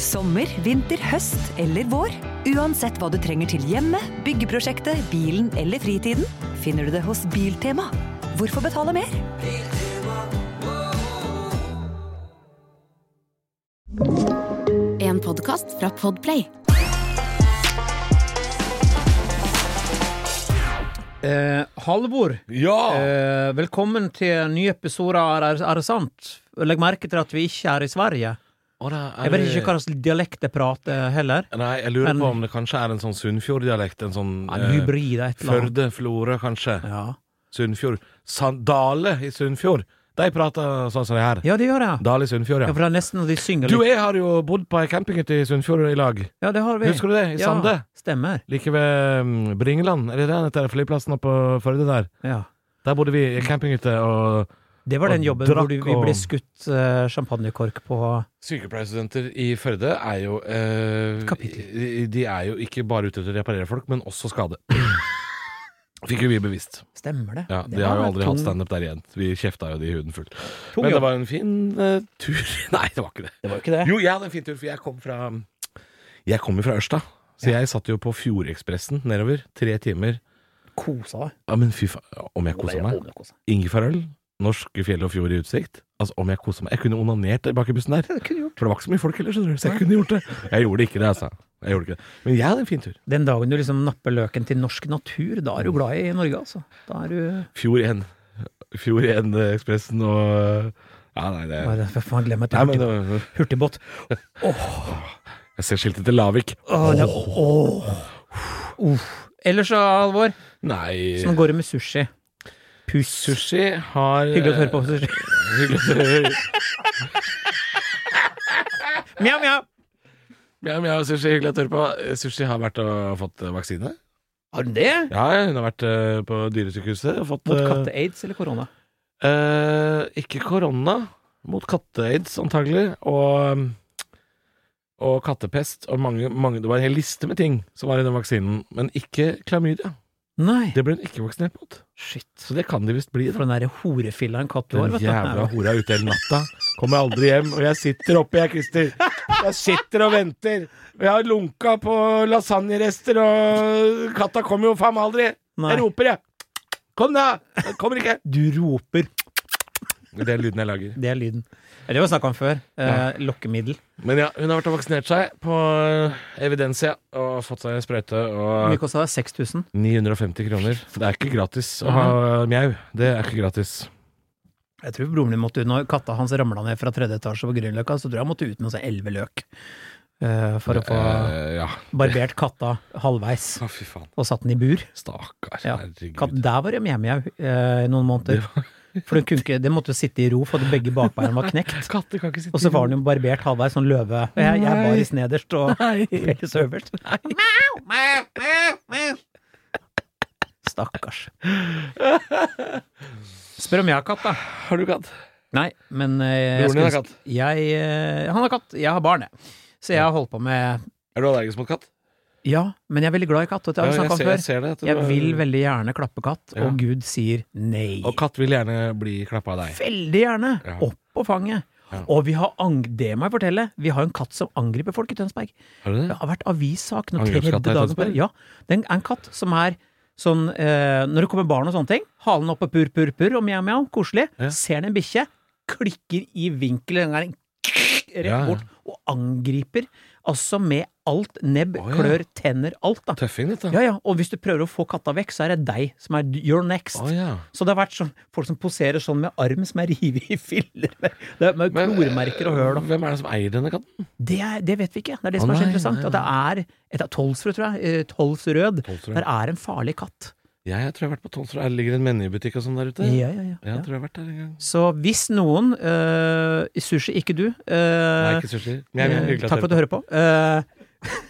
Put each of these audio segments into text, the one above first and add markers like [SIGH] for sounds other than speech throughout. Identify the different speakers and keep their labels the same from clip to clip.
Speaker 1: Sommer, vinter, høst eller vår. Uansett hva du trenger til hjemmet, byggeprosjektet, bilen eller fritiden, finner du det hos Biltema. Hvorfor betale mer?
Speaker 2: En podkast fra Podplay.
Speaker 3: Eh, Halvor,
Speaker 4: Ja!
Speaker 3: eh, velkommen til en ny episode av Er, er det sant? Legg merke til at vi ikke er i Sverige.
Speaker 4: Å, det er-
Speaker 3: Jeg vet ikke hva slags dialekt jeg prater heller.
Speaker 4: Nei, jeg lurer
Speaker 3: Men-
Speaker 4: på om det kanskje er en sånn Sunnfjord-dialekt. En sånn
Speaker 3: En hybrid et eller annet.
Speaker 4: Førde, Florø, kanskje.
Speaker 3: Ja.
Speaker 4: Sunnfjord. San Dale i Sunnfjord. De prater sånn som det her.
Speaker 3: ja, det gjør jeg.
Speaker 4: Dale i Sunnfjord,
Speaker 3: Ja,
Speaker 4: ja.
Speaker 3: for det er nesten at de synger
Speaker 4: Du og
Speaker 3: litt.
Speaker 4: jeg har jo bodd på ei campinghytte i Sunnfjord i lag.
Speaker 3: Ja, det har vi.
Speaker 4: Husker du det? I
Speaker 3: ja,
Speaker 4: Sande?
Speaker 3: Stemmer.
Speaker 4: Like ved mm, Bringeland. Er det den heter? Flyplassen oppe på Førde der.
Speaker 3: Ja.
Speaker 4: Der bodde vi i campinghytte og
Speaker 3: Det var
Speaker 4: Og
Speaker 3: den jobben
Speaker 4: drakk
Speaker 3: hvor du, vi
Speaker 4: og-
Speaker 3: ble skutt eh, champagnekork på
Speaker 4: Sykepleierstudenter i Førde er jo eh,
Speaker 3: Kapittel.
Speaker 4: de- De er jo ikke bare ute til å reparere folk, men også skade. [CLEARS THROAT] Fikk jo vi bevist.
Speaker 3: Stemmer det?
Speaker 4: Ja,
Speaker 3: Det
Speaker 4: De har jo
Speaker 3: var
Speaker 4: aldri
Speaker 3: tung-
Speaker 4: hatt standup der igjen. Vi kjefta jo de i huden full.
Speaker 3: tung
Speaker 4: Men det
Speaker 3: jobb.
Speaker 4: var jo en fin eh, tur [LAUGHS] Nei, det var ikke det.
Speaker 3: Det var jo ikke det.
Speaker 4: Jo, jeg hadde en fin tur, for jeg kom fra Jeg kom jo fra Ørsta. Så jeg satt jo på Fjordekspressen nedover. Tre timer.
Speaker 3: Kosa deg.
Speaker 4: Ja, men fy faen, om jeg kosa meg? Ingefærøl, norske fjell og fjord i utsikt. Altså, om jeg kosa meg Jeg kunne onanert bak i bussen der.
Speaker 3: Det kunne du gjort.
Speaker 4: For det var ikke så mye folk heller, skjønner du. Så jeg kunne gjort det. Jeg gjorde ikke det, altså. Jeg gjorde ikke det. Men jeg hadde en fin tur.
Speaker 3: Den dagen du liksom napper løken til norsk natur, da
Speaker 4: Mm.
Speaker 3: er du glad i Norge, altså. Da er du
Speaker 4: Fjord 1. Fjord 1-ekspressen og Ja, nei, det
Speaker 3: Hva er det? Hva faen, glem et
Speaker 4: Eh. Nei, men
Speaker 3: hurtig,
Speaker 4: det var-
Speaker 3: hurtigbåt.
Speaker 4: Jeg ser skiltet til Lavik.
Speaker 3: Åh, det er, åh. Uff. Ellers så, Alvor,
Speaker 4: Nei
Speaker 3: sånn går det med sushi. Puss.
Speaker 4: Sushi eh, har
Speaker 3: Hyggelig å høre på sushi.
Speaker 4: Hyggelig å-
Speaker 3: Mjau, mjau!
Speaker 4: Ja, men jeg har sushi hyggelig å høre på. Sushi har vært og fått eh, vaksine.
Speaker 3: Har du det?
Speaker 4: Ja, hun har vært eh, på dyresykehuset og fått
Speaker 3: Mot
Speaker 4: eh,
Speaker 3: katte-aids eller korona?
Speaker 4: Eh, ikke korona, mot katteaids antagelig, og, mm, og kattepest. Og mange, mange, det var en hel liste med ting som var i den vaksinen, men ikke klamydia.
Speaker 3: Nei.
Speaker 4: Det ble hun ikke vaksinert mot.
Speaker 3: Shit.
Speaker 4: Så det kan de visst bli.
Speaker 3: For
Speaker 4: Da.
Speaker 3: den derre horefilla en katt du har,
Speaker 4: Den
Speaker 3: vet du.
Speaker 4: jævla hora er ute hele natta. Kommer aldri hjem. Og jeg sitter oppe, jeg, Christer. Jeg sitter og venter. Og jeg har lunka på lasagnerester, og katta kommer jo faen meg aldri.
Speaker 3: Nei.
Speaker 4: Jeg roper, jeg. Kom, da! Den Kommer ikke.
Speaker 3: Du roper.
Speaker 4: Det er lyden jeg lager.
Speaker 3: Det er lyden. Ja, Det har vi snakka om før. Eh, lokkemiddel.
Speaker 4: Men ja, hun har vært og vaksinert seg på eh, Evidensia og fått seg en sprøyte
Speaker 3: Hvor
Speaker 4: og
Speaker 3: mye kosta det? 6000?
Speaker 4: 950 kroner. Det er ikke gratis å ha
Speaker 3: eh,
Speaker 4: mjau. Det er ikke gratis.
Speaker 3: Jeg tror broren min måtte ut når katta hans ramla ned fra tredje etasje på Grünerløkka, så tror jeg han måtte ut med seg elleve løk. eh, for å få
Speaker 4: Eh, ja.
Speaker 3: barbert katta halvveis,
Speaker 4: Å, fy faen.
Speaker 3: og satt den i bur.
Speaker 4: Stakkar.
Speaker 3: Ja. Katt,
Speaker 4: Herregud.
Speaker 3: der var det mjau-mjau eh, i noen måneder. For den, kunne ikke, den måtte jo sitte i ro, for at begge bakbeina var knekt.
Speaker 4: Katter kan ikke sitte
Speaker 3: Og så var den jo barbert halvveis, sånn løve. Og jeg, jeg
Speaker 4: Nei.
Speaker 3: var i snederst
Speaker 4: [LAUGHS]
Speaker 3: og Pelis øverst. Stakkars.
Speaker 4: [LAUGHS]
Speaker 3: Spør om jeg har katt, da.
Speaker 4: Har du katt?
Speaker 3: Nei, men eh, jeg
Speaker 4: Broren din har
Speaker 3: skulle-
Speaker 4: katt.
Speaker 3: Jeg, eh, han har katt, jeg har barn, jeg. Så jeg har holdt på med
Speaker 4: Er du allergisk mot katt?
Speaker 3: Ja, men jeg er veldig glad i katt, og det har vi
Speaker 4: Ja,
Speaker 3: snakka om
Speaker 4: ser, jeg
Speaker 3: før.
Speaker 4: ser det. at du
Speaker 3: Jeg
Speaker 4: er-
Speaker 3: vil veldig gjerne klappe katt,
Speaker 4: Ja.
Speaker 3: og Gud sier nei.
Speaker 4: Og katt vil gjerne bli klappa av deg.
Speaker 3: Veldig gjerne.
Speaker 4: Ja.
Speaker 3: Opp på fanget.
Speaker 4: Ja.
Speaker 3: Og vi har ang det må jeg fortelle, vi har jo en katt som angriper folk i Tønsberg.
Speaker 4: Har du
Speaker 3: Det
Speaker 4: det?
Speaker 3: har vært avissak nå
Speaker 4: Angrepskatt
Speaker 3: tredje
Speaker 4: her i
Speaker 3: dagen på
Speaker 4: Tønsberg?
Speaker 3: Ja, det er en katt som er sånn eh, Når det kommer barn og sånne ting, halen oppe purr, purr, purr og mjau, mjau, koselig.
Speaker 4: Ja.
Speaker 3: Ser den en bikkje, klikker i vinkel den gangen, rett
Speaker 4: Ja, ja.
Speaker 3: bort, og angriper. Altså med alt. Nebb,
Speaker 4: Å, ja.
Speaker 3: klør, tenner, alt, da.
Speaker 4: Tøffing, dette.
Speaker 3: Ja, ja, og hvis du prøver å få katta vekk, så er det deg som er you're next.
Speaker 4: Å, ja.
Speaker 3: Så det har vært sånn, folk som poserer sånn med arm som er revet i filler, med, det er med
Speaker 4: Men, eh,
Speaker 3: klormerker og høl. og-
Speaker 4: Hvem er det som eier denne katten?
Speaker 3: Det, er, det vet vi ikke. Det er det
Speaker 4: Å,
Speaker 3: som er så
Speaker 4: nei,
Speaker 3: interessant.
Speaker 4: nei,
Speaker 3: At det er et av Tolsrød, tror jeg. eh, Tolsrød.
Speaker 4: Tolsrød.
Speaker 3: Der er en farlig katt.
Speaker 4: Ja, jeg tror jeg har vært på Tolsrud. Det ligger en menybutikk og sånn der ute.
Speaker 3: Ja, Eh, ja, ja.
Speaker 4: Ja,
Speaker 3: ja.
Speaker 4: jeg tror jeg har vært der en gang.
Speaker 3: Så hvis noen eh, i Sushi, ikke du
Speaker 4: Nei,
Speaker 3: eh,
Speaker 4: ikke sushi. Men jeg,
Speaker 3: eh,
Speaker 4: hyggelig
Speaker 3: Takk for at du hører på. Eh, [LAUGHS]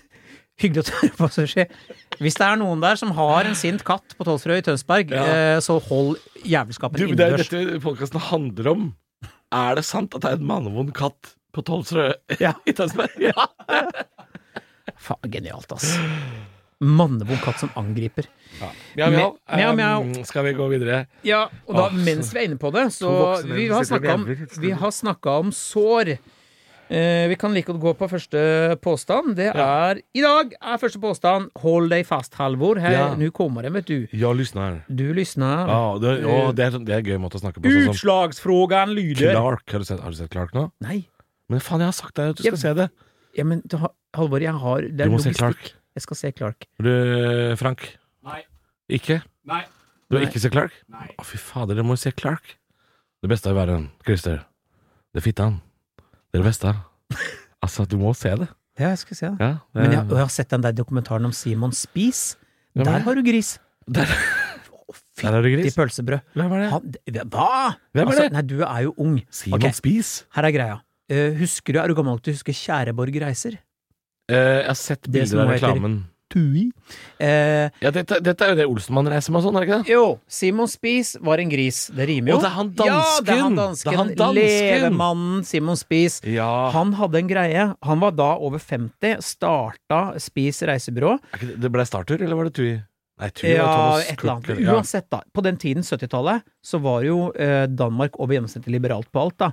Speaker 3: hyggelig at du hører på, Sushi. Hvis det er noen der som har en sint katt på Tolsrød i Tønsberg,
Speaker 4: Ja.
Speaker 3: eh, så hold jævelskapen
Speaker 4: Du, det er
Speaker 3: innendørs.
Speaker 4: dette podkasten handler om. Er det sant at det er en mannevond katt på Tolvsrød
Speaker 3: Ja.
Speaker 4: [LAUGHS] i Tønsberg? Ja.
Speaker 3: Faen, genialt, ass. Mannevond katt som angriper.
Speaker 4: Mjau, mjau.
Speaker 3: Mjau, mjau.
Speaker 4: Um, skal vi gå videre?
Speaker 3: Ja, og da,
Speaker 4: Åh,
Speaker 3: mens vi er inne på det, så
Speaker 4: To voksne
Speaker 3: vi
Speaker 4: mennesker
Speaker 3: har
Speaker 4: sitter og
Speaker 3: snakka om,
Speaker 4: jævler.
Speaker 3: vi har snakket om sår. Eh, vi kan like godt gå på første påstand. Det
Speaker 4: Ja.
Speaker 3: er I dag er første påstand 'Hold deg fast, Halvor'. Her,
Speaker 4: Ja.
Speaker 3: Nu kommer det, vet du.
Speaker 4: Jag lyssnar.
Speaker 3: Du lyssnar.
Speaker 4: Ja, det,
Speaker 3: Eh,
Speaker 4: ja, det, er, det er en gøy måte å snakke på. Sånn som
Speaker 3: Utslagsfrågan lyder
Speaker 4: Clark. Har du sett, har du sett Clark nå?
Speaker 3: Nei.
Speaker 4: Men faen, jeg har sagt deg at du skal
Speaker 3: Jeg-
Speaker 4: se det.
Speaker 3: Ja, men du har- Halvor, jeg har det er
Speaker 4: Du må se
Speaker 3: logistikk.
Speaker 4: Clark.
Speaker 3: Jeg skal se Clark.
Speaker 4: Du, Frank?
Speaker 5: Nei.
Speaker 4: Ikke?
Speaker 5: Nei.
Speaker 4: Du har
Speaker 3: Nei.
Speaker 4: ikke sett Clark?
Speaker 5: Nei.
Speaker 4: Å, fy fader, dere må jo se Clark. Det beste av verden, Christer. Det er fitta han. Det er
Speaker 3: [LAUGHS]
Speaker 4: det beste. Altså, du må se det.
Speaker 3: Ja, jeg skal se det.
Speaker 4: Ja, det
Speaker 3: Men jeg, og jeg har sett den der dokumentaren om Simon Spies.
Speaker 4: Ja, men-
Speaker 3: Der har du gris.
Speaker 4: Der,
Speaker 3: Å, Fytti
Speaker 4: der er det gris.
Speaker 3: pølsebrød.
Speaker 4: Hvem er det?
Speaker 3: Han, hva?!
Speaker 4: Hvem er
Speaker 3: Altså,
Speaker 4: det?
Speaker 3: nei, du er jo ung.
Speaker 4: Simon
Speaker 3: Ok.
Speaker 4: Spies.
Speaker 3: Her er greia. Eh, husker du, Er du gammel nok til å huske Tjæreborg reiser?
Speaker 4: Eh, jeg har sett
Speaker 3: som
Speaker 4: bilder av
Speaker 3: nå heter-
Speaker 4: reklamen.
Speaker 3: Tui. Eh,
Speaker 4: Ja, dette, dette er jo det Olsenmann reiser med og sånn, er det ikke det?
Speaker 3: Jo, Simon Spies var en gris. Det rimer jo.
Speaker 4: Å, det er han
Speaker 3: Ja, det er han
Speaker 4: dansken!
Speaker 3: dansken.
Speaker 4: Det er han dansken! Ah.
Speaker 3: Levemannen Simon Spies.
Speaker 4: Ja.
Speaker 3: Han hadde en greie. Han var da over 50, starta Spies reisebyrå.
Speaker 4: Er ikke det, det ble Startur, eller var det Tui? Nei, Tui var
Speaker 3: Ja,
Speaker 4: Thomas
Speaker 3: et eller
Speaker 4: Cook,
Speaker 3: annet.
Speaker 4: ja.
Speaker 3: Uansett, da. På den tiden, 70-tallet, så var jo eh, Danmark over gjennomsnittet liberalt på alt, da.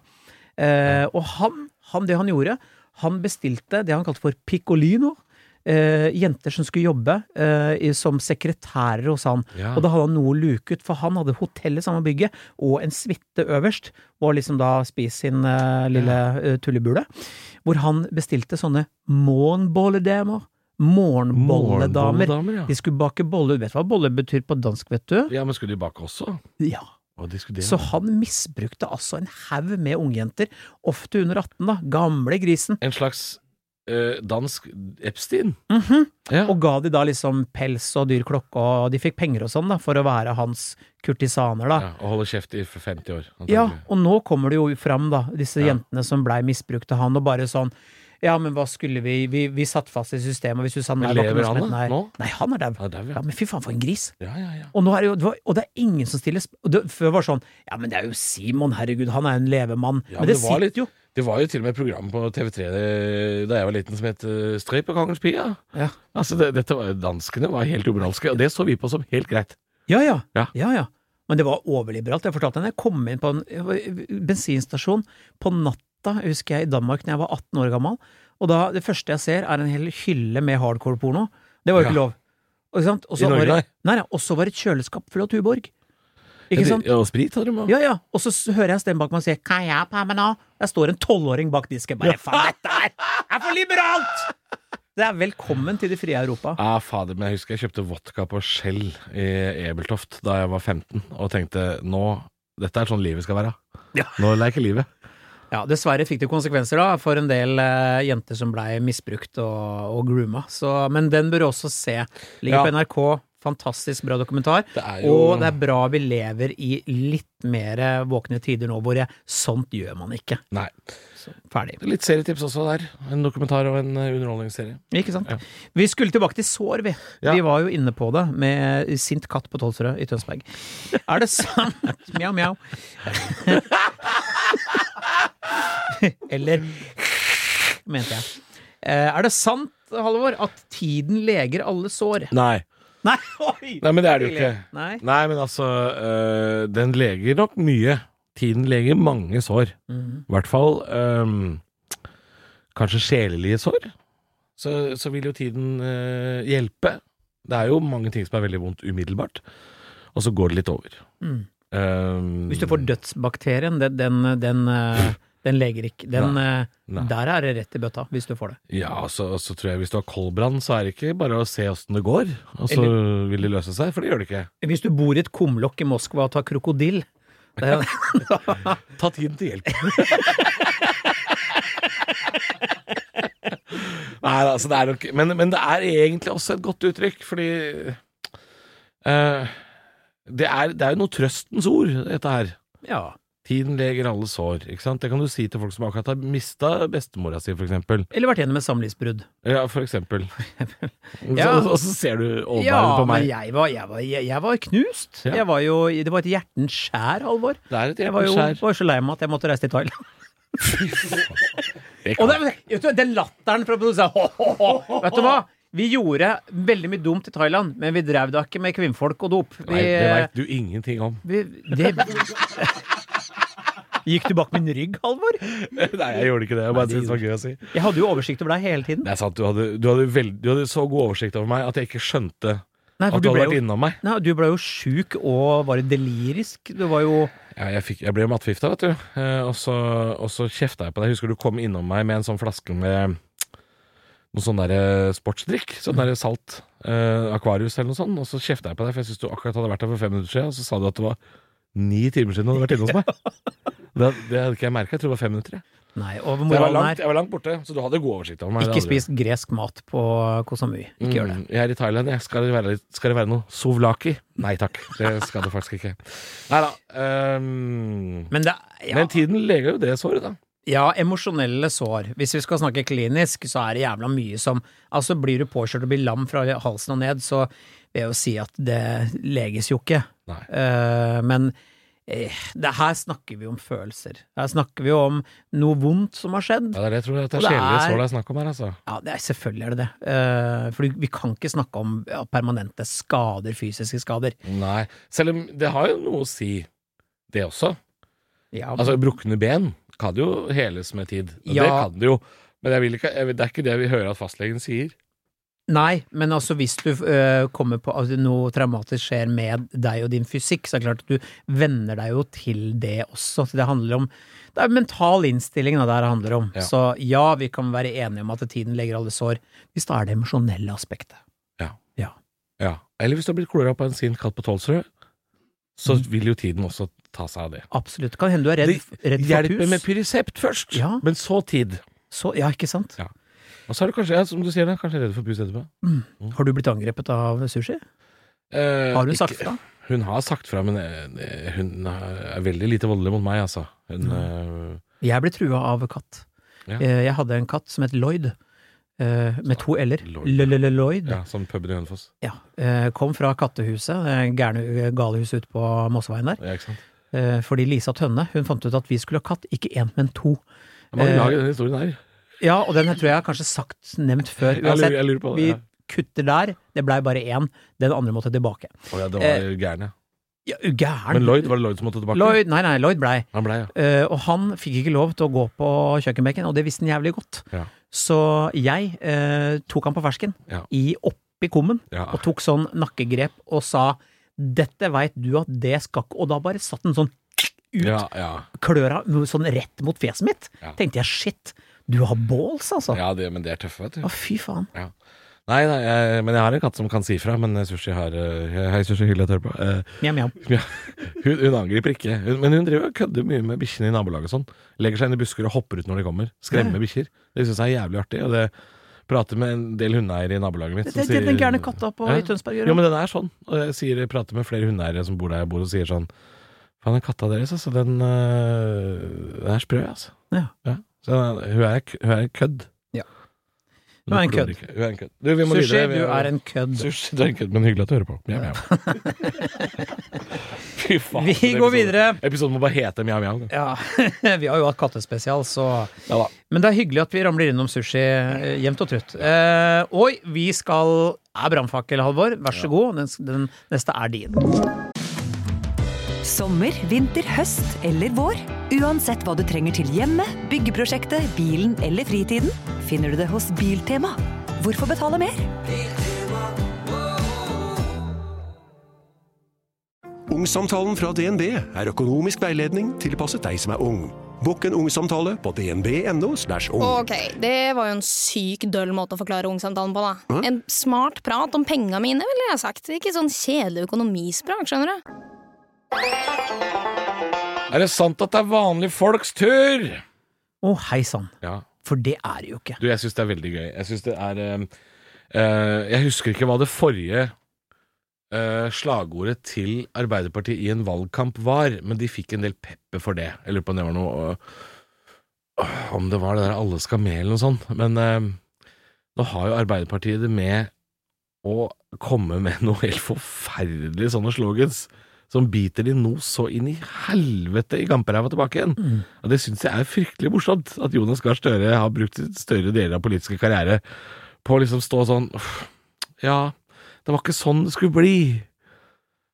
Speaker 3: Eh, og han, han, det han gjorde, han bestilte det han kalte for piccolino. Eh, jenter som skulle jobbe eh, i, som sekretærer hos han.
Speaker 4: Ja.
Speaker 3: Og da hadde han noe luket, for han hadde hotell i samme bygget, og en suite øverst, og liksom da Spis sin eh, lille eh, tullebule, hvor han bestilte sånne morgenbolledamer. Morgenbolledamer.
Speaker 4: Morgenbolledamer, ja.
Speaker 3: De skulle bake boller. Du vet hva boller betyr på dansk, vet du?
Speaker 4: ja, men skulle de bake også?
Speaker 3: Ja.
Speaker 4: Å, de skulle det.
Speaker 3: Så han misbrukte altså en haug med ungjenter, ofte under 18, da, gamle grisen,
Speaker 4: En slags eh, dansk Epstein? ja.
Speaker 3: mhm, og ga de da liksom pels og dyr klokke, og de fikk penger og sånn, da, for å være hans kurtisaner, da.
Speaker 4: ja, og holde kjeft i 50 år. antagelig.
Speaker 3: Ja, og nå kommer det jo fram, da, disse
Speaker 4: Ja.
Speaker 3: jentene som blei misbrukt av han, og bare sånn Ja, men hva skulle vi Vi, vi satt fast i systemet, og hvis du sa nei,
Speaker 4: Men
Speaker 3: var ikke
Speaker 4: lever
Speaker 3: noe som
Speaker 4: han
Speaker 3: het nei.
Speaker 4: da, nå?
Speaker 3: Nei, han er dau.
Speaker 4: Han er dau, ja.
Speaker 3: Ja, men fy faen, for en gris.
Speaker 4: Ja, ja, ja.
Speaker 3: Og, nå er det jo, det var, og det er ingen som stiller sp- og det, Før var det sånn Ja, men det er jo Simon, herregud, han er jo en levemann.
Speaker 4: Ja,
Speaker 3: men det,
Speaker 4: var
Speaker 3: sitter
Speaker 4: litt-
Speaker 3: jo
Speaker 4: Det var jo til og med et program på TV3 det- da jeg var liten som het eh, Strøy på kongens pia.
Speaker 3: Ja.
Speaker 4: Altså, det, dette var, danskene var helt umoralske, og det så vi på som helt greit.
Speaker 3: Ja, ja.
Speaker 4: Ja.
Speaker 3: ja, ja. Men det var overliberalt. Jeg fortalte henne jeg kom inn på en jeg var- bensinstasjon på natta, husker jeg, i Danmark da jeg var 18 år gammel. Og da, det første jeg ser, er en hel hylle med hardcore-porno. Det var jo ikke
Speaker 4: Ja.
Speaker 3: lov. Ikke sant? Og
Speaker 4: I
Speaker 3: så
Speaker 4: Norge,
Speaker 3: var, det- nei, nei, og så var det et kjøleskap fullt av Tuborg. Ikke sant?
Speaker 4: Ja, og sprit hadde de òg.
Speaker 3: Ja, ja. Og så s- hører jeg en stemme bak meg og sier 'Kan jeg på meg nå?' Der står en tolvåring bak disken. Bare faen, dette er, er for liberalt! Det er velkommen til det frie Europa.
Speaker 4: Ja, fader, men jeg husker jeg kjøpte vodka på Shell i Ebeltoft da jeg var 15, og tenkte nå Dette er sånn livet skal være.
Speaker 3: Ja.
Speaker 4: Nå leker livet.
Speaker 3: Ja, dessverre fikk det konsekvenser da, for en del eh, jenter som blei misbrukt og, og grooma. Så, men den bør du også se. Ligger
Speaker 4: Ja.
Speaker 3: på NRK. Fantastisk bra dokumentar.
Speaker 4: Det er jo-
Speaker 3: Og det er bra vi lever i litt mer eh, våkne tider nå, hvor jeg, sånt gjør man ikke.
Speaker 4: Nei.
Speaker 3: Ferdig.
Speaker 4: Litt serietips også der. En dokumentar og en eh, underholdningsserie.
Speaker 3: Ikke sant?
Speaker 4: Ja.
Speaker 3: Vi skulle tilbake til sår, vi.
Speaker 4: Ja.
Speaker 3: Vi var jo inne på det med sint katt på Tolvsrød i Tønsberg. Er det sant? [LAUGHS] mjau, mjau. Eller [LAUGHS] mente jeg. Eh, Er det sant, Halvor, at tiden leger alle sår?
Speaker 4: Nei.
Speaker 3: Nei, oi!
Speaker 4: Nei, men det er det jo ikke.
Speaker 3: Nei.
Speaker 4: Nei, men altså øh, Den leger nok mye. Tiden leger mange sår.
Speaker 3: Mhm.
Speaker 4: I hvert fall øhm, kanskje sjelelige sår. Så, så vil jo tiden øh, hjelpe. Det er jo mange ting som er veldig vondt umiddelbart, og så går det litt over. Ehm,
Speaker 3: Mm.
Speaker 4: Øhm,
Speaker 3: Hvis du får dødsbakterien, den, den, den, eh, den leger ikke. Den, eh,
Speaker 4: Nei.
Speaker 3: der er det rett i bøtta, hvis du får det.
Speaker 4: Ja, så, så tror jeg hvis du har koldbrann, så er det ikke bare å se åssen det går, og så vil det løse seg, for det gjør det ikke.
Speaker 3: Hvis du bor i et kumlokk i Moskva og tar krokodille det [LAUGHS] er,
Speaker 4: Ta tiden
Speaker 3: [LAUGHS]
Speaker 4: til hjelp. Nei, altså, det er nok men, men det er egentlig også et godt uttrykk, fordi eh, det, er, det er jo noe trøstens ord, dette her.
Speaker 3: Ja.
Speaker 4: Tiden leger alle sår, ikke sant? Det kan du si til folk som akkurat har mista bestemora si, for eksempel.
Speaker 3: Eller vært gjennom et samlivsbrudd.
Speaker 4: Ja, for eksempel.
Speaker 3: [LAUGHS] Ja.
Speaker 4: Så, og så ser du åpenbart på
Speaker 3: men
Speaker 4: meg.
Speaker 3: jeg var, jeg var, jeg, jeg var knust.
Speaker 4: Ja.
Speaker 3: Jeg var jo, det var et hjertens skjær, Halvor.
Speaker 4: Det er et
Speaker 3: Jeg var jo
Speaker 4: hjerteskjær.
Speaker 3: var så lei meg at jeg måtte reise til Thailand.
Speaker 4: Det kan-
Speaker 3: Og det, vet du, den latteren fra produsenten [LAUGHS] Vet du hva? Vi gjorde veldig mye dumt i Thailand, men vi drev da ikke med kvinnfolk og dop. Vi,
Speaker 4: Nei, det veit du ingenting om.
Speaker 3: vi, det, Gikk du bak min rygg, Halvor?
Speaker 4: [LAUGHS] Nei, jeg gjorde ikke det. Jeg bare syntes det var gøy å si.
Speaker 3: Jeg hadde jo oversikt over deg hele tiden.
Speaker 4: Det er sant. Du hadde, du, hadde veld, du hadde så god oversikt over meg at jeg ikke skjønte
Speaker 3: Nei,
Speaker 4: at
Speaker 3: for
Speaker 4: du
Speaker 3: du
Speaker 4: hadde
Speaker 3: ble
Speaker 4: vært
Speaker 3: jo,
Speaker 4: innom meg.
Speaker 3: nei, du ble jo sjuk og var delirisk. Du var jo
Speaker 4: Ja, jeg, fikk, jeg ble jo matforgifta, vet du. Eh, og så, og så kjefta jeg på deg. Jeg husker du kom innom meg med en sånn flaske med noe sånn derre sportsdrikk. Sånn derre salt eh, akvarius eller noe sånt. Og så kjefta jeg på deg, for jeg syns du akkurat hadde vært her for fem minutter siden. Og så sa du at det var ni timer siden du hadde vært inne hos
Speaker 3: [LAUGHS]
Speaker 4: meg. Det, det hadde ikke jeg merka. Jeg tror det var fem minutter. Jeg.
Speaker 3: Nei, og
Speaker 4: Så Jeg var,
Speaker 3: moralen
Speaker 4: langt,
Speaker 3: er
Speaker 4: jeg var langt borte, så du hadde god oversikt over meg.
Speaker 3: ikke spis gresk mat på Koh Samui. Ikke gjør det.
Speaker 4: Mm, jeg er i Thailand, jeg. Skal det, være, litt- skal det være noe souvlaki? Nei takk, det skal det faktisk ikke. Nei da. ehm,
Speaker 3: Men det ja.
Speaker 4: Men tiden leger jo det såret, da.
Speaker 3: Ja, emosjonelle sår. Hvis vi skal snakke klinisk, så er det jævla mye som Altså, blir du påkjørt og blir lam fra halsen og ned, så vil jeg jo si at det leges jo ikke.
Speaker 4: Nei.
Speaker 3: Eh, men eh, det her snakker vi om følelser. Her snakker vi om noe vondt som har skjedd.
Speaker 4: Ja, det er det jeg tror at det
Speaker 3: Og
Speaker 4: er
Speaker 3: det
Speaker 4: sjelelige
Speaker 3: er-
Speaker 4: sår det er snakk om her, altså.
Speaker 3: Ja, det er, selvfølgelig er det det. Eh, for vi kan ikke snakke om ja, permanente skader, fysiske skader.
Speaker 4: Nei. Selv om det har jo noe å si, det også.
Speaker 3: Ja,
Speaker 4: Altså, brukne ben kan jo heles med tid. Og Det
Speaker 3: Ja.
Speaker 4: kan det jo. Men jeg vil ikke, jeg, vil- det er ikke det vi hører at fastlegen sier.
Speaker 3: Nei, men altså hvis du øh, kommer på altså, noe traumatisk skjer med deg og din fysikk, så er det klart at du venner deg jo til det også. Så det handler om Det er mental innstilling da, det her handler om.
Speaker 4: Ja.
Speaker 3: Så ja, vi kan være enige om at tiden legger alle sår, hvis da er det emosjonelle aspektet.
Speaker 4: Ja. Eller hvis du har blitt klora på en sint katt på Tolsrud, så
Speaker 3: Mm.
Speaker 4: vil jo tiden også ta seg av det.
Speaker 3: Absolutt. Kan hende du er redd, redd for
Speaker 4: Hjelper med
Speaker 3: pus.
Speaker 4: pyresept først,
Speaker 3: Ja.
Speaker 4: men så tid.
Speaker 3: Så, ja, ikke sant?
Speaker 4: Og så er du kanskje, ja, som du sier, da, kanskje redd for pus etterpå.
Speaker 3: Har du blitt angrepet av sushi?
Speaker 4: Eh,
Speaker 3: Har hun
Speaker 4: ikke-
Speaker 3: sagt fra?
Speaker 4: Hun har sagt fra, men eh, hun er veldig lite voldelig mot meg, altså. Hun,
Speaker 3: Mm.
Speaker 4: eh,
Speaker 3: Jeg ble trua av katt.
Speaker 4: Ja.
Speaker 3: Eh, Jeg hadde en katt som het Lloyd. eh, Med to l-er.
Speaker 4: Lloyd.
Speaker 3: L-l-l-Lloyd.
Speaker 4: ja, som puben i Hønefoss.
Speaker 3: Ja, eh, kom fra kattehuset, eh, gærne galehuset ute på Mosseveien der,
Speaker 4: Ja, ikke sant?
Speaker 3: eh, fordi Lisa Tønne hun fant ut at vi skulle ha katt, ikke én, men to.
Speaker 4: Jeg må
Speaker 3: Eh,
Speaker 4: lage den historien her.
Speaker 3: Ja, og den tror jeg har kanskje sagt nevnt før.
Speaker 4: Jeg lurer, jeg
Speaker 3: Uansett,
Speaker 4: lurer på det.
Speaker 3: vi
Speaker 4: Ja.
Speaker 3: kutter der, det blei bare én, den andre måtte tilbake.
Speaker 4: Å ja, det var gærne.
Speaker 3: Ja, u- gæren.
Speaker 4: Men Lloyd, var det Lloyd som måtte tilbake?
Speaker 3: eh, Lloyd, nei, nei, Lloyd blei.
Speaker 4: Han blei, ja.
Speaker 3: Eh, og han fikk ikke lov til å gå på kjøkkenbenken, og det visste han jævlig godt.
Speaker 4: Ja.
Speaker 3: Så jeg eh, tok han på fersken,
Speaker 4: Ja. Ah.
Speaker 3: i oppi kummen,
Speaker 4: ja.
Speaker 3: og tok sånn nakkegrep og sa 'dette veit du at det skal ikke' Og da bare satt den sånn ut,
Speaker 4: Ja, ja.
Speaker 3: kløra sånn rett mot fjeset mitt.
Speaker 4: Ja.
Speaker 3: Tenkte jeg 'shit, du har balls', altså.
Speaker 4: ja det, men det er tøffe, vet
Speaker 3: Å,
Speaker 4: du.
Speaker 3: fy faen.
Speaker 4: Nei, nei, jeg, men jeg har en katt som kan si fra, men sushi har eh, Hei, sushi, hyggelig at du hører på. Eh,
Speaker 3: Mjau, mjau.
Speaker 4: Ja, hun, hun angriper ikke, hun, men hun driver og kødder mye med bikkjene i nabolaget. og Sånn. Legger seg inn i busker og hopper ut når de kommer. Skremmer bikkjer. Det syns jeg er jævlig artig. Og det prater med en del hundeeiere i nabolaget mitt.
Speaker 3: Det
Speaker 4: som
Speaker 3: er det
Speaker 4: sier-
Speaker 3: den gærne katta på
Speaker 4: Ja.
Speaker 3: i Tønsberg gjør.
Speaker 4: Jo, men den er sånn. Og jeg sier, jeg prater med flere hundeeiere som bor der jeg bor, og sier sånn Faen, den katta deres, altså, den, øh, den er sprø, altså.
Speaker 3: Ja.
Speaker 4: Så den er- hun, er, k- hun er en kødd.
Speaker 3: Ja.
Speaker 4: Men
Speaker 3: Hun er en
Speaker 4: klorer
Speaker 3: kødd.
Speaker 4: ikke. Hun er en kødd. Du, vi må
Speaker 3: Sushi,
Speaker 4: videre. Vi-
Speaker 3: du er en kødd.
Speaker 4: Sushi, du er en kødd, men hyggelig at du hører på. Mjau, mjau. Fy faen.
Speaker 3: Vi går
Speaker 4: den episoden-
Speaker 3: videre.
Speaker 4: Episoden må bare hete mjau, mjau.
Speaker 3: Ja, [LAUGHS] vi har jo hatt kattespesial, så
Speaker 4: Ja da.
Speaker 3: Men det er hyggelig at vi ramler innom sushi eh, jevnt og trutt. Eh, oi, vi skal Er brannfakkel, Halvor? Vær så god. Den, den neste er din.
Speaker 1: Sommer, vinter, høst eller vår. Uansett hva du trenger til hjemmet, byggeprosjektet, bilen eller fritiden, finner du det hos Biltema. Hvorfor betale mer?
Speaker 5: Ungsamtalen fra DNB er økonomisk veiledning tilpasset deg som er ung. Bokk en ungsamtale på dnb.no. slash ung.
Speaker 6: Ok, det var jo en syk døll måte å forklare ungsamtalen på, da. En smart prat om penga mine, ville jeg ha sagt. Ikke sånn kjedelig økonomispråk, skjønner du.
Speaker 4: Er det sant at det er vanlige folks tur?
Speaker 3: Å, hei sann.
Speaker 4: Ja.
Speaker 3: For det er det jo ikke.
Speaker 4: Du, jeg syns det er veldig gøy. Jeg syns det er eh, eh, Jeg husker ikke hva det forrige eh, slagordet til Arbeiderpartiet i en valgkamp var, men de fikk en del pepper for det. Jeg lurer på om det var noe eh, Om det var det der 'alle skal med', eller noe sånt. Men eh, nå har jo Arbeiderpartiet det med å komme med noe helt forferdelig sånne slogans. Som biter de nå så inn i helvete i gamperæva tilbake igjen. Og det syns jeg er fryktelig morsomt, at Jonas Gahr Støre har brukt større deler av politiske karriere på å liksom stå sånn «Uff, Ja, det var ikke sånn det skulle bli.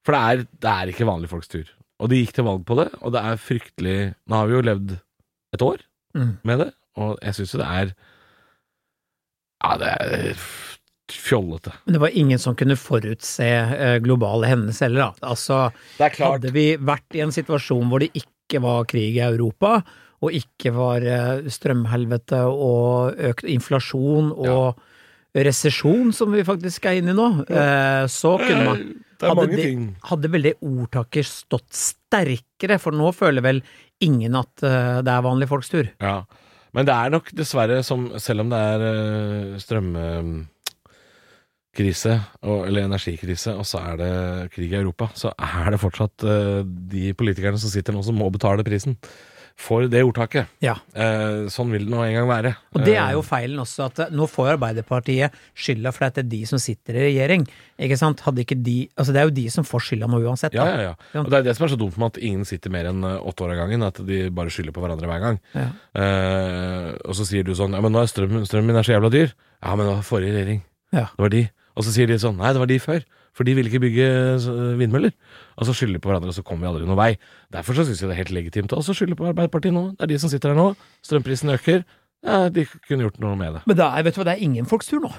Speaker 4: For det er, det er ikke vanlige folks tur. Og de gikk til valg på det, og det er fryktelig Nå har vi jo levd et år
Speaker 3: Mm.
Speaker 4: med det, og jeg syns jo det er Ja, det er f- fjollete.
Speaker 3: Men det var ingen som kunne forutse eh, globale hendelser heller, da. Altså,
Speaker 4: Det er
Speaker 3: hadde vi vært i en situasjon hvor det ikke var krig i Europa, og ikke var eh, strømhelvete og økt inflasjon og resesjon, som vi faktisk er inne i nå, eh, så kunne man
Speaker 4: Det er
Speaker 3: hadde
Speaker 4: mange
Speaker 3: det-
Speaker 4: ting.
Speaker 3: hadde vel det ordtaket stått sterkere, for nå føler vel ingen at eh, det er vanlige folks tur.
Speaker 4: Ja. Men det er nok dessverre som Selv om det er eh, strømkrise, og, eller energikrise, og så er det krig i Europa, så er det fortsatt eh, de politikerne som sitter nå som må betale prisen for det ordtaket.
Speaker 3: Ja.
Speaker 4: Eh, sånn vil det nå en gang være. Eh,
Speaker 3: Og det er jo feilen også, at eh, nå får Arbeiderpartiet skylda for at det er de som sitter i regjering, ikke sant? Hadde ikke de Altså, det er jo de som får skylda nå uansett.
Speaker 4: Ja,
Speaker 3: da.
Speaker 4: ja, ja. Og det er det som er så dumt med at ingen sitter mer enn eh, åtte år av gangen, at de bare skylder på hverandre hver gang.
Speaker 3: Ja.
Speaker 4: Eh, og så sier du sånn Ja, men nå er strømmen, strømmen er så jævla dyr. Ja, men det var forrige regjering.
Speaker 3: Ja.
Speaker 4: Det var de. Og så sier de sånn Nei, det var de før. For de ville ikke bygge eh, vindmøller. Og så skylder de på hverandre, og så kommer vi aldri noen vei. Derfor så syns jeg det er helt legitimt å også skylde på Arbeiderpartiet nå. Det er de som sitter her nå. Strømprisen øker. Ja, de kunne gjort noe med det.
Speaker 3: Men det er, vet du hva, det er ingen folks tur nå.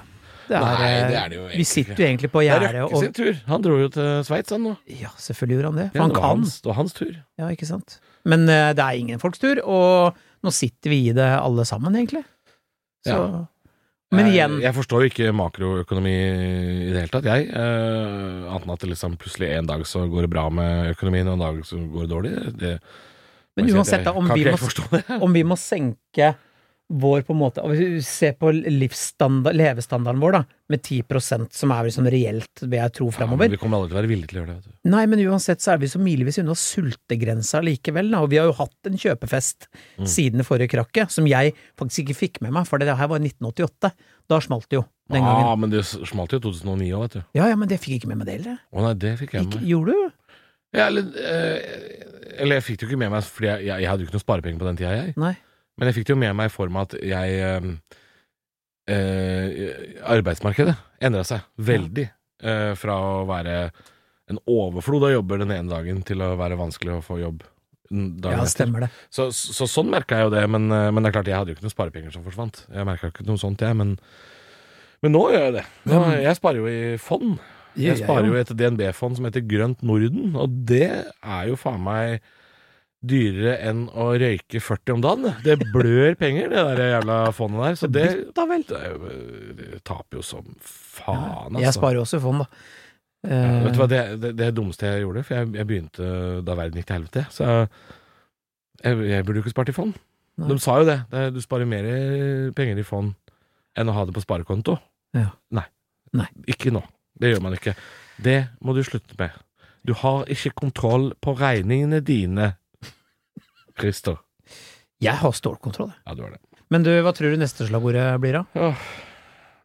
Speaker 3: Det er, eh,
Speaker 4: Nei, det er det jo
Speaker 3: Vi
Speaker 4: egentlig
Speaker 3: sitter
Speaker 4: ikke.
Speaker 3: jo egentlig på
Speaker 4: Det er
Speaker 3: gjerdet
Speaker 4: Røkke
Speaker 3: og
Speaker 4: sin tur. Han dro jo til Sveits, han nå.
Speaker 3: Ja, selvfølgelig gjorde han det. For
Speaker 4: Ja,
Speaker 3: han
Speaker 4: det var
Speaker 3: kan.
Speaker 4: hans, det var hans tur.
Speaker 3: Ja, ikke sant. Men eh, det er ingen folks tur, og nå sitter vi i det alle sammen, egentlig. Så
Speaker 4: Ja. Eh,
Speaker 3: Men
Speaker 4: Jeg-
Speaker 3: igjen,
Speaker 4: Jeg forstår jo ikke makroøkonomi i det hele tatt, jeg. Eh, Annet enn at det liksom plutselig en dag så går det bra med økonomien, og en dag så går det dårlig. Det,
Speaker 3: Men
Speaker 4: må jeg
Speaker 3: uansett
Speaker 4: at jeg
Speaker 3: da, om
Speaker 4: kan
Speaker 3: vi
Speaker 4: ikke helt
Speaker 3: må-
Speaker 4: forstå det.
Speaker 3: [LAUGHS] om vi må senke vår på en måte og hvis vi ser på livsstandard, levestandarden vår, da, med 10 som er liksom reelt, vil jeg tro,
Speaker 4: Ja, men
Speaker 3: fremover.
Speaker 4: vi kommer aldri til å være villige til å gjøre det. Vet du.
Speaker 3: Nei, men uansett så er vi så milevis unna sultegrensa likevel, da. Og vi har jo hatt en kjøpefest
Speaker 4: Mm.
Speaker 3: siden det forrige krakket, som jeg faktisk ikke fikk med meg, for det her var i 1988. Da smalt det jo, den
Speaker 4: Ja,
Speaker 3: gangen.
Speaker 4: Ah, men det smalt jo i 2009 òg, vet du.
Speaker 3: Ja ja, men det fikk jeg ikke med meg, det heller. jeg.
Speaker 4: Å nei, det fikk jeg med
Speaker 3: Ikke-
Speaker 4: meg.
Speaker 3: Gjorde du?
Speaker 4: Ja, eller, eh, eller jeg fikk det jo ikke med meg, Fordi jeg, jeg hadde jo ikke noe sparepenger på den tida, jeg.
Speaker 3: Nei.
Speaker 4: Men jeg fikk det jo med meg i form av at jeg eh, eh, Arbeidsmarkedet endra seg veldig. eh, fra å være en overflod av jobber den ene dagen til å være vanskelig å få jobb n- dagen
Speaker 3: Ja,
Speaker 4: etter.
Speaker 3: stemmer det.
Speaker 4: Så, så sånn merka jeg jo det, men, eh, men det er klart jeg hadde jo ikke noen sparepenger som forsvant. Jeg merka ikke noe sånt, jeg, men, men nå gjør jeg det. Nå, jeg sparer jo i fond. Jeg sparer jo i et DNB-fond som heter Grønt Norden, og det er jo faen meg dyrere enn å røyke 40 om dagen. Det blør penger, det der jævla fondet der. Så det,
Speaker 3: Da vel.
Speaker 4: det, er jo- det taper jo som faen,
Speaker 3: Jeg
Speaker 4: altså.
Speaker 3: sparer jo også i fond, da.
Speaker 4: Ja, vet du
Speaker 3: Eh,
Speaker 4: hva, det, det, det er det dummeste jeg gjorde, for jeg, jeg begynte da verden gikk til helvete. Så jeg, jeg burde jo ikke spart i fond.
Speaker 3: Nei.
Speaker 4: De sa jo det. det. Du sparer mer penger i fond enn å ha det på sparekonto.
Speaker 3: Ja.
Speaker 4: Nei.
Speaker 3: Nei.
Speaker 4: Ikke nå. Det gjør man ikke. Det må du slutte med. Du har ikke kontroll på regningene dine, Christer.
Speaker 3: jeg har stålkontroll, jeg.
Speaker 4: Ja, du har det.
Speaker 3: Men du, hva tror du neste slagordet blir, da?
Speaker 4: Åh,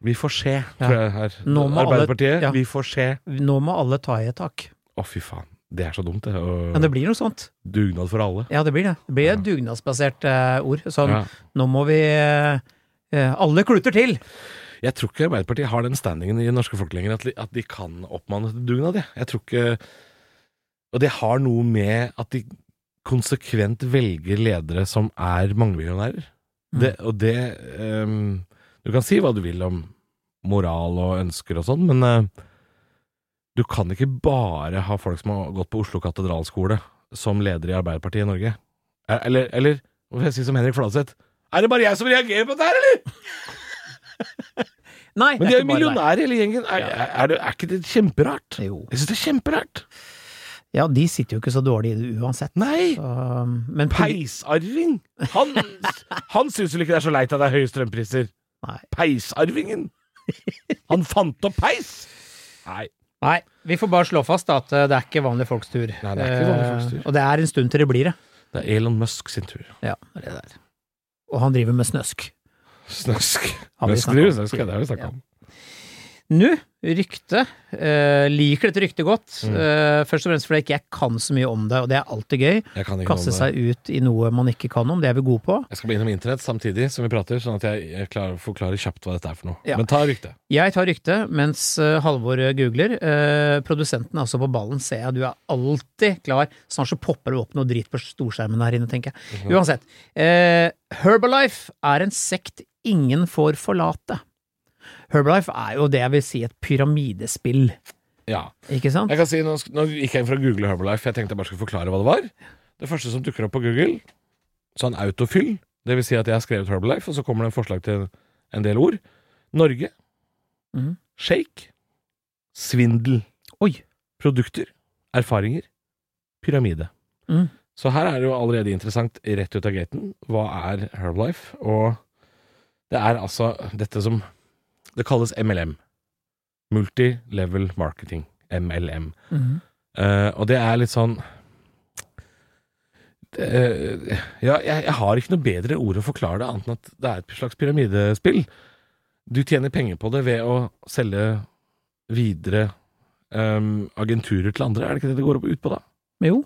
Speaker 4: vi får se, tror jeg her.
Speaker 3: Nå må alle-
Speaker 4: Arbeiderpartiet,
Speaker 3: ja.
Speaker 4: vi får se.
Speaker 3: Nå må alle ta i et tak.
Speaker 4: Å, fy faen. Det er så dumt, det. Og
Speaker 3: Men det blir noe sånt.
Speaker 4: Dugnad for alle.
Speaker 3: Ja, det blir det. Det blir et dugnadsbasert eh, ord. Sånn,
Speaker 4: Ja.
Speaker 3: nå må vi eh, eh, Alle kluter til!
Speaker 4: Jeg tror ikke Arbeiderpartiet har den standingen i det norske folk lenger at de, at de kan oppmanne til dugnad. Jeg. jeg tror ikke Og det har noe med at de konsekvent velger ledere som er mangemillionærer. Det, og det ehm, Du kan si hva du vil om moral og ønsker og sånn, men eh, du kan ikke bare ha folk som har gått på Oslo katedralskole som leder i Arbeiderpartiet i Norge. Eh, Eller, eller hva får jeg si som Henrik Fladseth? Er det bare jeg som reagerer på dette her, eller?!
Speaker 3: Nei! det ikke
Speaker 4: Men de er jo
Speaker 3: bare deg.
Speaker 4: millionærer, hele gjengen. Er, er, er, det, er ikke det kjemperart?
Speaker 3: Jo.
Speaker 4: Jeg syns det er kjemperart.
Speaker 3: Ja, de sitter jo ikke så dårlig i det uansett.
Speaker 4: Nei!
Speaker 3: Så, men poli-
Speaker 4: Peisarving!
Speaker 3: [LAUGHS]
Speaker 4: Han, han syns vel ikke det er så leit at det er høye strømpriser.
Speaker 3: Nei.
Speaker 4: Peisarvingen! Han fant opp peis! Nei.
Speaker 3: Nei, vi får bare slå fast da, at eh, det er ikke vanlige folks tur.
Speaker 4: Nei, det er ikke vanlige folks tur.
Speaker 3: Eh, og det er en stund til det blir det.
Speaker 4: Det er Elon Musk sin tur.
Speaker 3: Ja, det er det der. Og han driver med snøsk.
Speaker 4: Snøsk.
Speaker 3: Har vi
Speaker 4: Musk
Speaker 3: snakket
Speaker 4: driver
Speaker 3: om.
Speaker 4: snøsk, ja, det har vi snakka om.
Speaker 3: Nå, rykte. Eh, liker dette ryktet godt.
Speaker 4: Mm.
Speaker 3: Eh, først og fremst fordi jeg ikke kan så mye om det, og det er alltid gøy.
Speaker 4: Jeg kan ikke noe
Speaker 3: Kaste
Speaker 4: om det.
Speaker 3: seg ut i noe man ikke kan om, det er vi gode på.
Speaker 4: Jeg skal bli innom internett samtidig som vi prater, sånn at jeg, jeg klarer å forklare kjapt hva dette er for noe.
Speaker 3: Ja.
Speaker 4: Men ta ryktet.
Speaker 3: Jeg tar ryktet mens eh, Halvor googler. Eh, produsenten er også på ballen, ser jeg. Du er alltid klar. Snart så popper det opp noe drit på storskjermen her inne, tenker jeg.
Speaker 4: Mhm.
Speaker 3: Uansett. Eh, Herbalife er en sekt ingen får forlate. Herbalife er jo det jeg vil si et pyramidespill,
Speaker 4: Ja.
Speaker 3: ikke sant?
Speaker 4: Jeg kan si, nå, sk- nå gikk jeg inn for å google Herbalife, jeg tenkte jeg bare skulle forklare hva det var. Det første som dukker opp på Google, sånn autofyll, det vil si at jeg har skrevet Herbalife, og så kommer det en forslag til en del ord. Norge.
Speaker 3: Mhm.
Speaker 4: Shake. Svindel.
Speaker 3: Oi.
Speaker 4: Produkter. Erfaringer. Pyramide.
Speaker 3: Mhm.
Speaker 4: Så her er det jo allerede interessant rett ut av gaten. Hva er Herbalife? Og det er altså dette som Det kalles MLM. Multi-level marketing. MLM.
Speaker 3: Mhm.
Speaker 4: Eh, og det er litt sånn det, eh, Ja, jeg, jeg har ikke noe bedre ord å forklare det, annet enn at det er et slags pyramidespill. Du tjener penger på det ved å selge videre eh, agenturer til andre. Er det ikke det det går opp- ut på, da?
Speaker 3: Men Jo.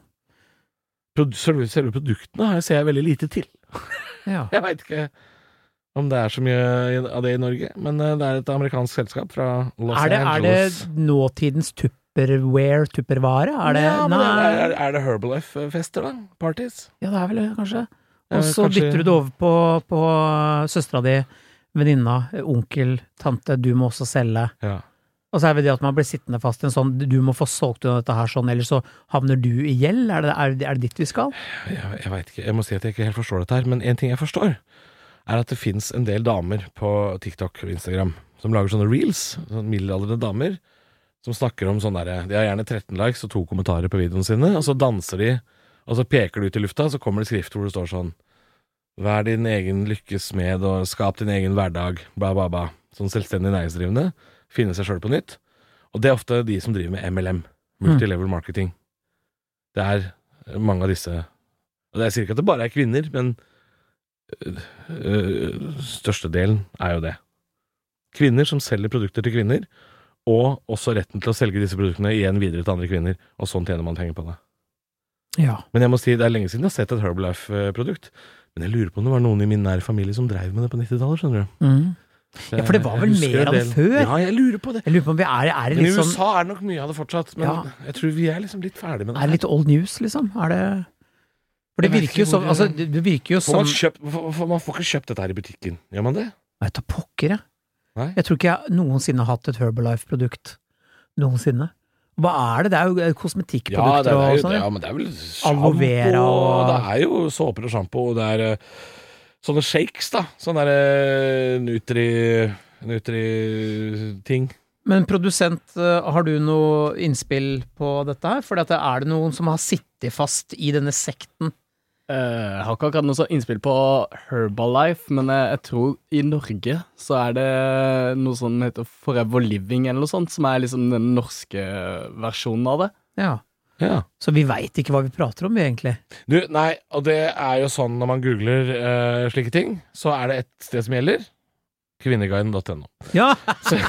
Speaker 4: Produ- Selve, selve produktene her ser jeg veldig lite til. [LAUGHS]
Speaker 3: Ja.
Speaker 4: Jeg veit ikke om det er så mye i- av det i Norge, men eh, det er et amerikansk selskap fra Los
Speaker 3: Er det, er det
Speaker 4: Angeles.
Speaker 3: nåtidens tupperware, tuppervare? Er det
Speaker 4: ja, men
Speaker 3: Nei.
Speaker 4: er, er, er det Herbalife-fester, da? Parties?
Speaker 3: Ja, det er vel det, kanskje.
Speaker 4: Ja,
Speaker 3: Og så
Speaker 4: kanskje-
Speaker 3: dytter du det over på, på søstera di, venninna, onkel, tante, du må også selge.
Speaker 4: Ja.
Speaker 3: Og så er det det at man blir sittende fast i en sånn du må få solgt unna dette her sånn, ellers så havner du i gjeld. Er det, er, det- er det dit vi skal?
Speaker 4: Jeg, jeg veit ikke. Jeg må si at jeg ikke helt forstår dette her, men en ting jeg forstår, er at det fins en del damer på TikTok og Instagram som lager sånne reels, sånne middelaldrende damer, som snakker om sånn derre De har gjerne 13 likes og to kommentarer på videoene sine, og så danser de, og så peker de ut i lufta, og så kommer det skrift hvor det står sånn Vær din egen lykkes smed, og skap din egen hverdag, bla, bla, bla. Sånn selvstendig næringsdrivende. Finne seg sjøl på nytt. Og det er ofte de som driver med MLM, multilevel marketing. Det er mange av disse og Jeg sier ikke at det bare er kvinner, men øh, øh, størstedelen er jo det. Kvinner som selger produkter til kvinner, og også retten til å selge disse produktene igjen videre til andre kvinner, og sånn tjener man penger på det.
Speaker 3: Ja.
Speaker 4: Men jeg må si, det er lenge siden jeg har sett et Herbalife-produkt, men jeg lurer på om det var noen i min nære familie som drev med det på 90-tallet, skjønner du.
Speaker 3: Mm. Ja, for det var
Speaker 4: Jeg
Speaker 3: vel
Speaker 4: husker
Speaker 3: mer
Speaker 4: en
Speaker 3: av det
Speaker 4: del-
Speaker 3: før?
Speaker 4: Ja, jeg lurer på det.
Speaker 3: Jeg lurer på om vi er, er det
Speaker 4: Men i
Speaker 3: litt sånn
Speaker 4: USA er det nok mye av det fortsatt, men
Speaker 3: Ja.
Speaker 4: jeg tror vi er liksom litt ferdig med det.
Speaker 3: Er det litt old news, liksom? Er det For det
Speaker 4: Jeg vet
Speaker 3: virker jo
Speaker 4: ikke
Speaker 3: som
Speaker 4: hvor-
Speaker 3: Altså, det det virker jo
Speaker 4: får
Speaker 3: som
Speaker 4: man, kjøpt, får, får- man får ikke kjøpt dette her i butikken, gjør man det?
Speaker 3: Vet da pokker, jeg.
Speaker 4: Nei.
Speaker 3: Jeg tror ikke jeg noensinne har hatt et Herbalife-produkt. Noensinne. Hva er det? Det er jo eh,
Speaker 4: Ja, det
Speaker 3: kosmetikkprodukter
Speaker 4: er, det er
Speaker 3: og
Speaker 4: jo,
Speaker 3: sånn.
Speaker 4: ja, men det er vel sjampo
Speaker 3: Aloe vera og-
Speaker 4: Det er jo såper og sjampo, og det er eh, sånne shakes, da. Sånne derre Nutri... Nutri-ting.
Speaker 3: Men produsent, eh, har du noe innspill på dette her? For eh, er det noen som har sittet fast i denne sekten?
Speaker 7: Eh, Jeg har ikke akkurat noe sånn innspill på Herbalife, men jeg, jeg tror i Norge så er det noe som heter Forever Living eller noe sånt, som er liksom den norske versjonen av det.
Speaker 3: Ja.
Speaker 4: Ja.
Speaker 3: Så vi veit ikke hva vi prater om, vi, egentlig.
Speaker 4: Du, nei, og det er jo sånn når man googler eh, slike ting, så er det ett sted som gjelder. Kvinneguiden.no.
Speaker 3: [LAUGHS] Ja!
Speaker 4: Så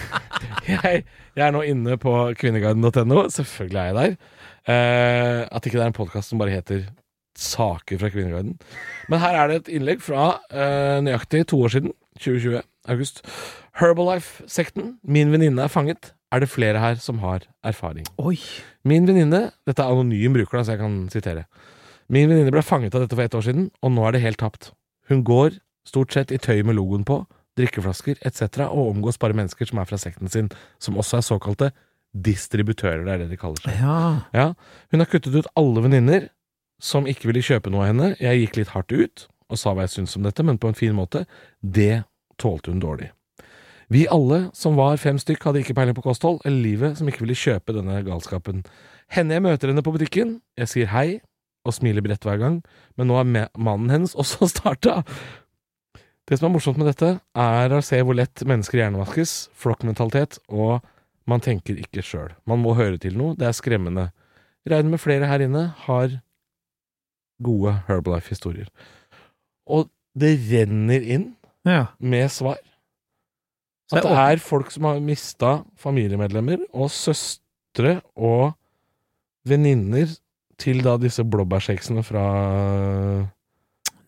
Speaker 4: jeg, jeg er nå inne på kvinneguiden.no. Selvfølgelig er jeg der. Eh, at ikke det er en podkast som bare heter Saker fra Kvinneguiden. Men her er det et innlegg fra eh, nøyaktig to år siden. 2020. August. Herbalife-sekten. Min venninne er fanget. Er det flere her som har erfaring?
Speaker 3: Oi.
Speaker 4: Min venninne Dette er anonym bruker, da, så jeg kan sitere. Min venninne ble fanget av dette for ett år siden, og nå er det helt tapt. Hun går stort sett i tøy med logoen på, drikkeflasker etc., og omgås bare mennesker som er fra sekten sin, som også er såkalte distributører, det er det de kaller seg.
Speaker 3: Ja.
Speaker 4: Ja, hun har kuttet ut alle venninner som ikke ville kjøpe noe av henne. Jeg gikk litt hardt ut og sa hva jeg syntes om dette, men på en fin måte. Det tålte hun dårlig. Vi alle som var fem stykk, hadde ikke peiling på kosthold eller livet, som ikke ville kjøpe denne galskapen. Henne jeg møter henne på butikken, jeg sier hei og smiler bredt hver gang, men nå er me- mannen hennes [LAUGHS] også starta. Det som er morsomt med dette, er å se hvor lett mennesker hjernevaskes, flokkmentalitet, og man tenker ikke sjøl. Man må høre til noe, det er skremmende. Regner med flere her inne har gode Herbalife-historier. Og det renner inn
Speaker 3: ja.
Speaker 4: med svar. At det er folk som har mista familiemedlemmer og søstre og venninner til da disse blåbærshakesene fra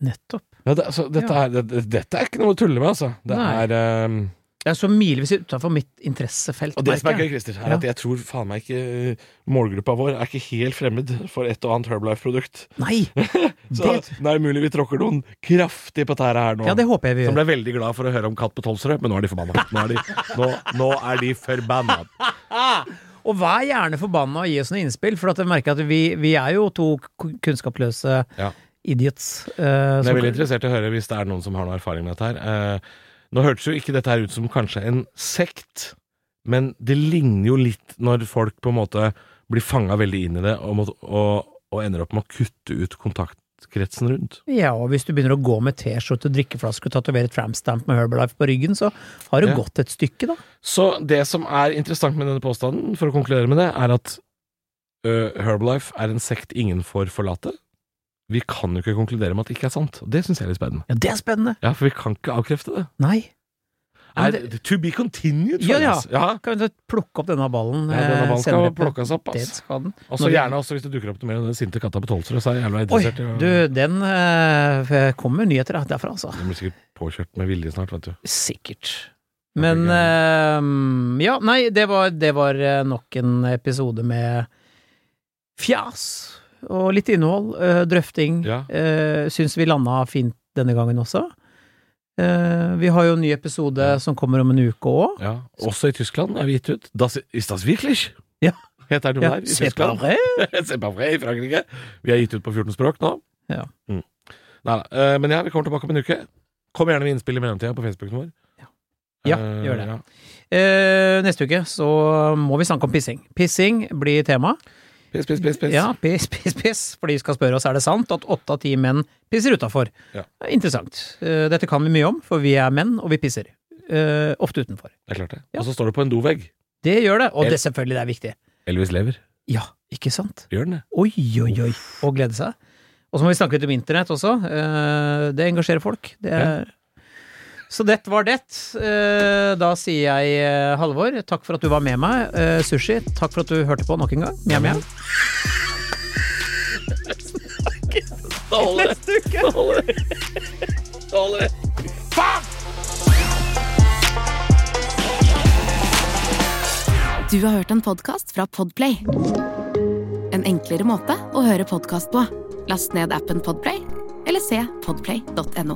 Speaker 3: Nettopp.
Speaker 4: ja, det, altså, dette,
Speaker 3: Ja.
Speaker 4: Er, det- det, dette er ikke noe å tulle med, altså. Det
Speaker 3: Nei.
Speaker 4: er ehm,
Speaker 3: Det er så milevis utafor mitt interessefelt.
Speaker 4: Og det som er
Speaker 3: merker jeg.
Speaker 4: gøy, Christer, er
Speaker 3: Ja.
Speaker 4: at jeg tror faen meg ikke eh, målgruppa vår er ikke helt fremmed for et og annet Herbalife-produkt. [LAUGHS]
Speaker 3: Nei!
Speaker 4: Så
Speaker 3: Det-
Speaker 4: det er mulig vi tråkker noen kraftig på tæra her nå.
Speaker 3: Ja, det håper jeg vi
Speaker 4: Som
Speaker 3: gjør.
Speaker 4: ble veldig glad for å høre om Katt på Tolvsrød, men nå er de forbanna. Nå er de, nå, nå er de forbanna.
Speaker 3: Og vær gjerne forbanna og gi oss noen innspill, for at jeg merker at vi, vi er jo to k- kunnskapløse
Speaker 4: Ja.
Speaker 3: idiots. eh,
Speaker 4: Men jeg
Speaker 3: som-
Speaker 4: er veldig interessert i å høre hvis det er noen som har noe erfaring med dette her. Eh, nå hørtes jo ikke dette her ut som kanskje en sekt, men det ligner jo litt når folk på en måte blir fanga veldig inn i det og, må, og, og ender opp med å kutte ut kontaktkretsen rundt.
Speaker 3: ja, og hvis du begynner å gå med T-skjorte, drikkeflaske og tatovere tramp-stamp med Herbalife på ryggen, så har du
Speaker 4: Ja.
Speaker 3: gått et stykke, da.
Speaker 4: Så det som er interessant med denne påstanden, for å konkludere med det, er at ø, Herbalife er en sekt ingen får forlate. Vi kan jo ikke konkludere med at det ikke er sant. og Det syns jeg er litt spennende.
Speaker 3: Ja, det er spennende!
Speaker 4: Ja, For vi kan ikke avkrefte det.
Speaker 3: Nei. Ja,
Speaker 4: Er,
Speaker 3: men det-
Speaker 4: to be continued,
Speaker 3: Ja, ja.
Speaker 4: folkens. ja.
Speaker 3: Kan vi plukke opp denne ballen,
Speaker 4: Ja, denne
Speaker 3: eh,
Speaker 4: ballen skal
Speaker 3: senere på-
Speaker 4: plukkes opp, ass.
Speaker 3: Det skal den.
Speaker 4: Og
Speaker 3: Når
Speaker 4: så
Speaker 3: vi-
Speaker 4: gjerne også hvis det dukker opp noe mer om den sinte katta på Tolvsrud, så er jeg jævla
Speaker 3: Oi,
Speaker 4: interessert i å
Speaker 3: du, den eh, kommer nyheter derfra, altså.
Speaker 4: Den blir sikkert påkjørt med vilje snart, vet du.
Speaker 3: Sikkert.
Speaker 4: Det
Speaker 3: Men
Speaker 4: blir
Speaker 3: eh, Ja, nei, det var, det var eh, nok en episode med fjas og litt innhold. eh, drøfting.
Speaker 4: Ja.
Speaker 3: Uh, Syns vi landa fint denne gangen også. Eh, vi har jo en ny episode
Speaker 4: Ja.
Speaker 3: som kommer om en uke òg.
Speaker 4: Ja. Også i Tyskland er vi gitt ut. Das ist das wirklich?
Speaker 3: Ja.
Speaker 4: Heter noe
Speaker 3: Ja,
Speaker 4: der i
Speaker 3: se på
Speaker 4: Tyskland.
Speaker 3: det.
Speaker 4: [LAUGHS] C'est pas vrai i Frankrike. Vi er gitt ut på 14 språk nå.
Speaker 3: Ja.
Speaker 4: Mm. Neida, eh, men ja, vi kommer tilbake om en uke. Kom gjerne med innspill i mellomtida på Facebooken vår.
Speaker 3: Ja,
Speaker 4: Eh,
Speaker 3: gjør det.
Speaker 4: ja.
Speaker 3: Eh, neste uke så må vi snakke om pissing. Pissing blir tema.
Speaker 4: Piss, piss, piss, piss.
Speaker 3: Ja, piss, piss, piss. For de skal spørre oss er det sant at åtte av ti menn pisser utafor.
Speaker 4: Ja.
Speaker 3: Interessant. Eh, Dette kan vi mye om, for vi er menn, og vi pisser. Eh, ofte utenfor.
Speaker 4: Det er klart det.
Speaker 3: Ja.
Speaker 4: Og så står det på en dovegg.
Speaker 3: Det gjør det, og
Speaker 4: Er-
Speaker 3: det selvfølgelig det er viktig.
Speaker 4: Elvis lever.
Speaker 3: Ja, ikke sant?
Speaker 4: Gjør den det?
Speaker 3: Oi, oi, oi. Å glede seg. Og så må vi snakke litt om internett også. Eh, Det engasjerer folk. Det er så det var det. Eh, Da sier jeg eh, Halvor, takk for at du var med meg. Eh, Sushi, takk for at du hørte på nok en gang. Mjau, mjau.
Speaker 4: Da holder det! Da holder det! Da holder det.
Speaker 2: Du har hørt en podcast fra Podplay En enklere måte å høre podcast på Last ned appen Podplay Eller se podplay.no